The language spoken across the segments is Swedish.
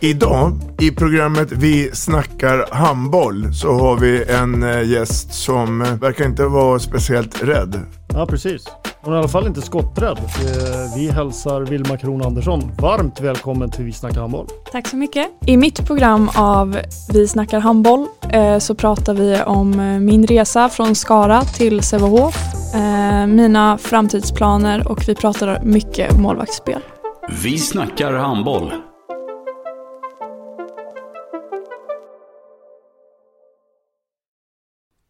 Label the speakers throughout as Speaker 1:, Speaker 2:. Speaker 1: Idag i programmet Vi snackar handboll så har vi en eh, gäst som eh, verkar inte vara speciellt rädd.
Speaker 2: Ja, precis. Hon är i alla fall inte skotträdd. Eh, Vi hälsar Vilma Kron Andersson varmt välkommen till Vi snackar handboll.
Speaker 3: Tack så mycket. I mitt program av Vi snackar handboll eh, så pratar vi om eh, min resa från Skara till Sävehof, eh, mina framtidsplaner och vi pratar mycket målvaktsspel.
Speaker 4: Vi snackar handboll.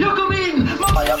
Speaker 5: Jag kom in! Mamma, jag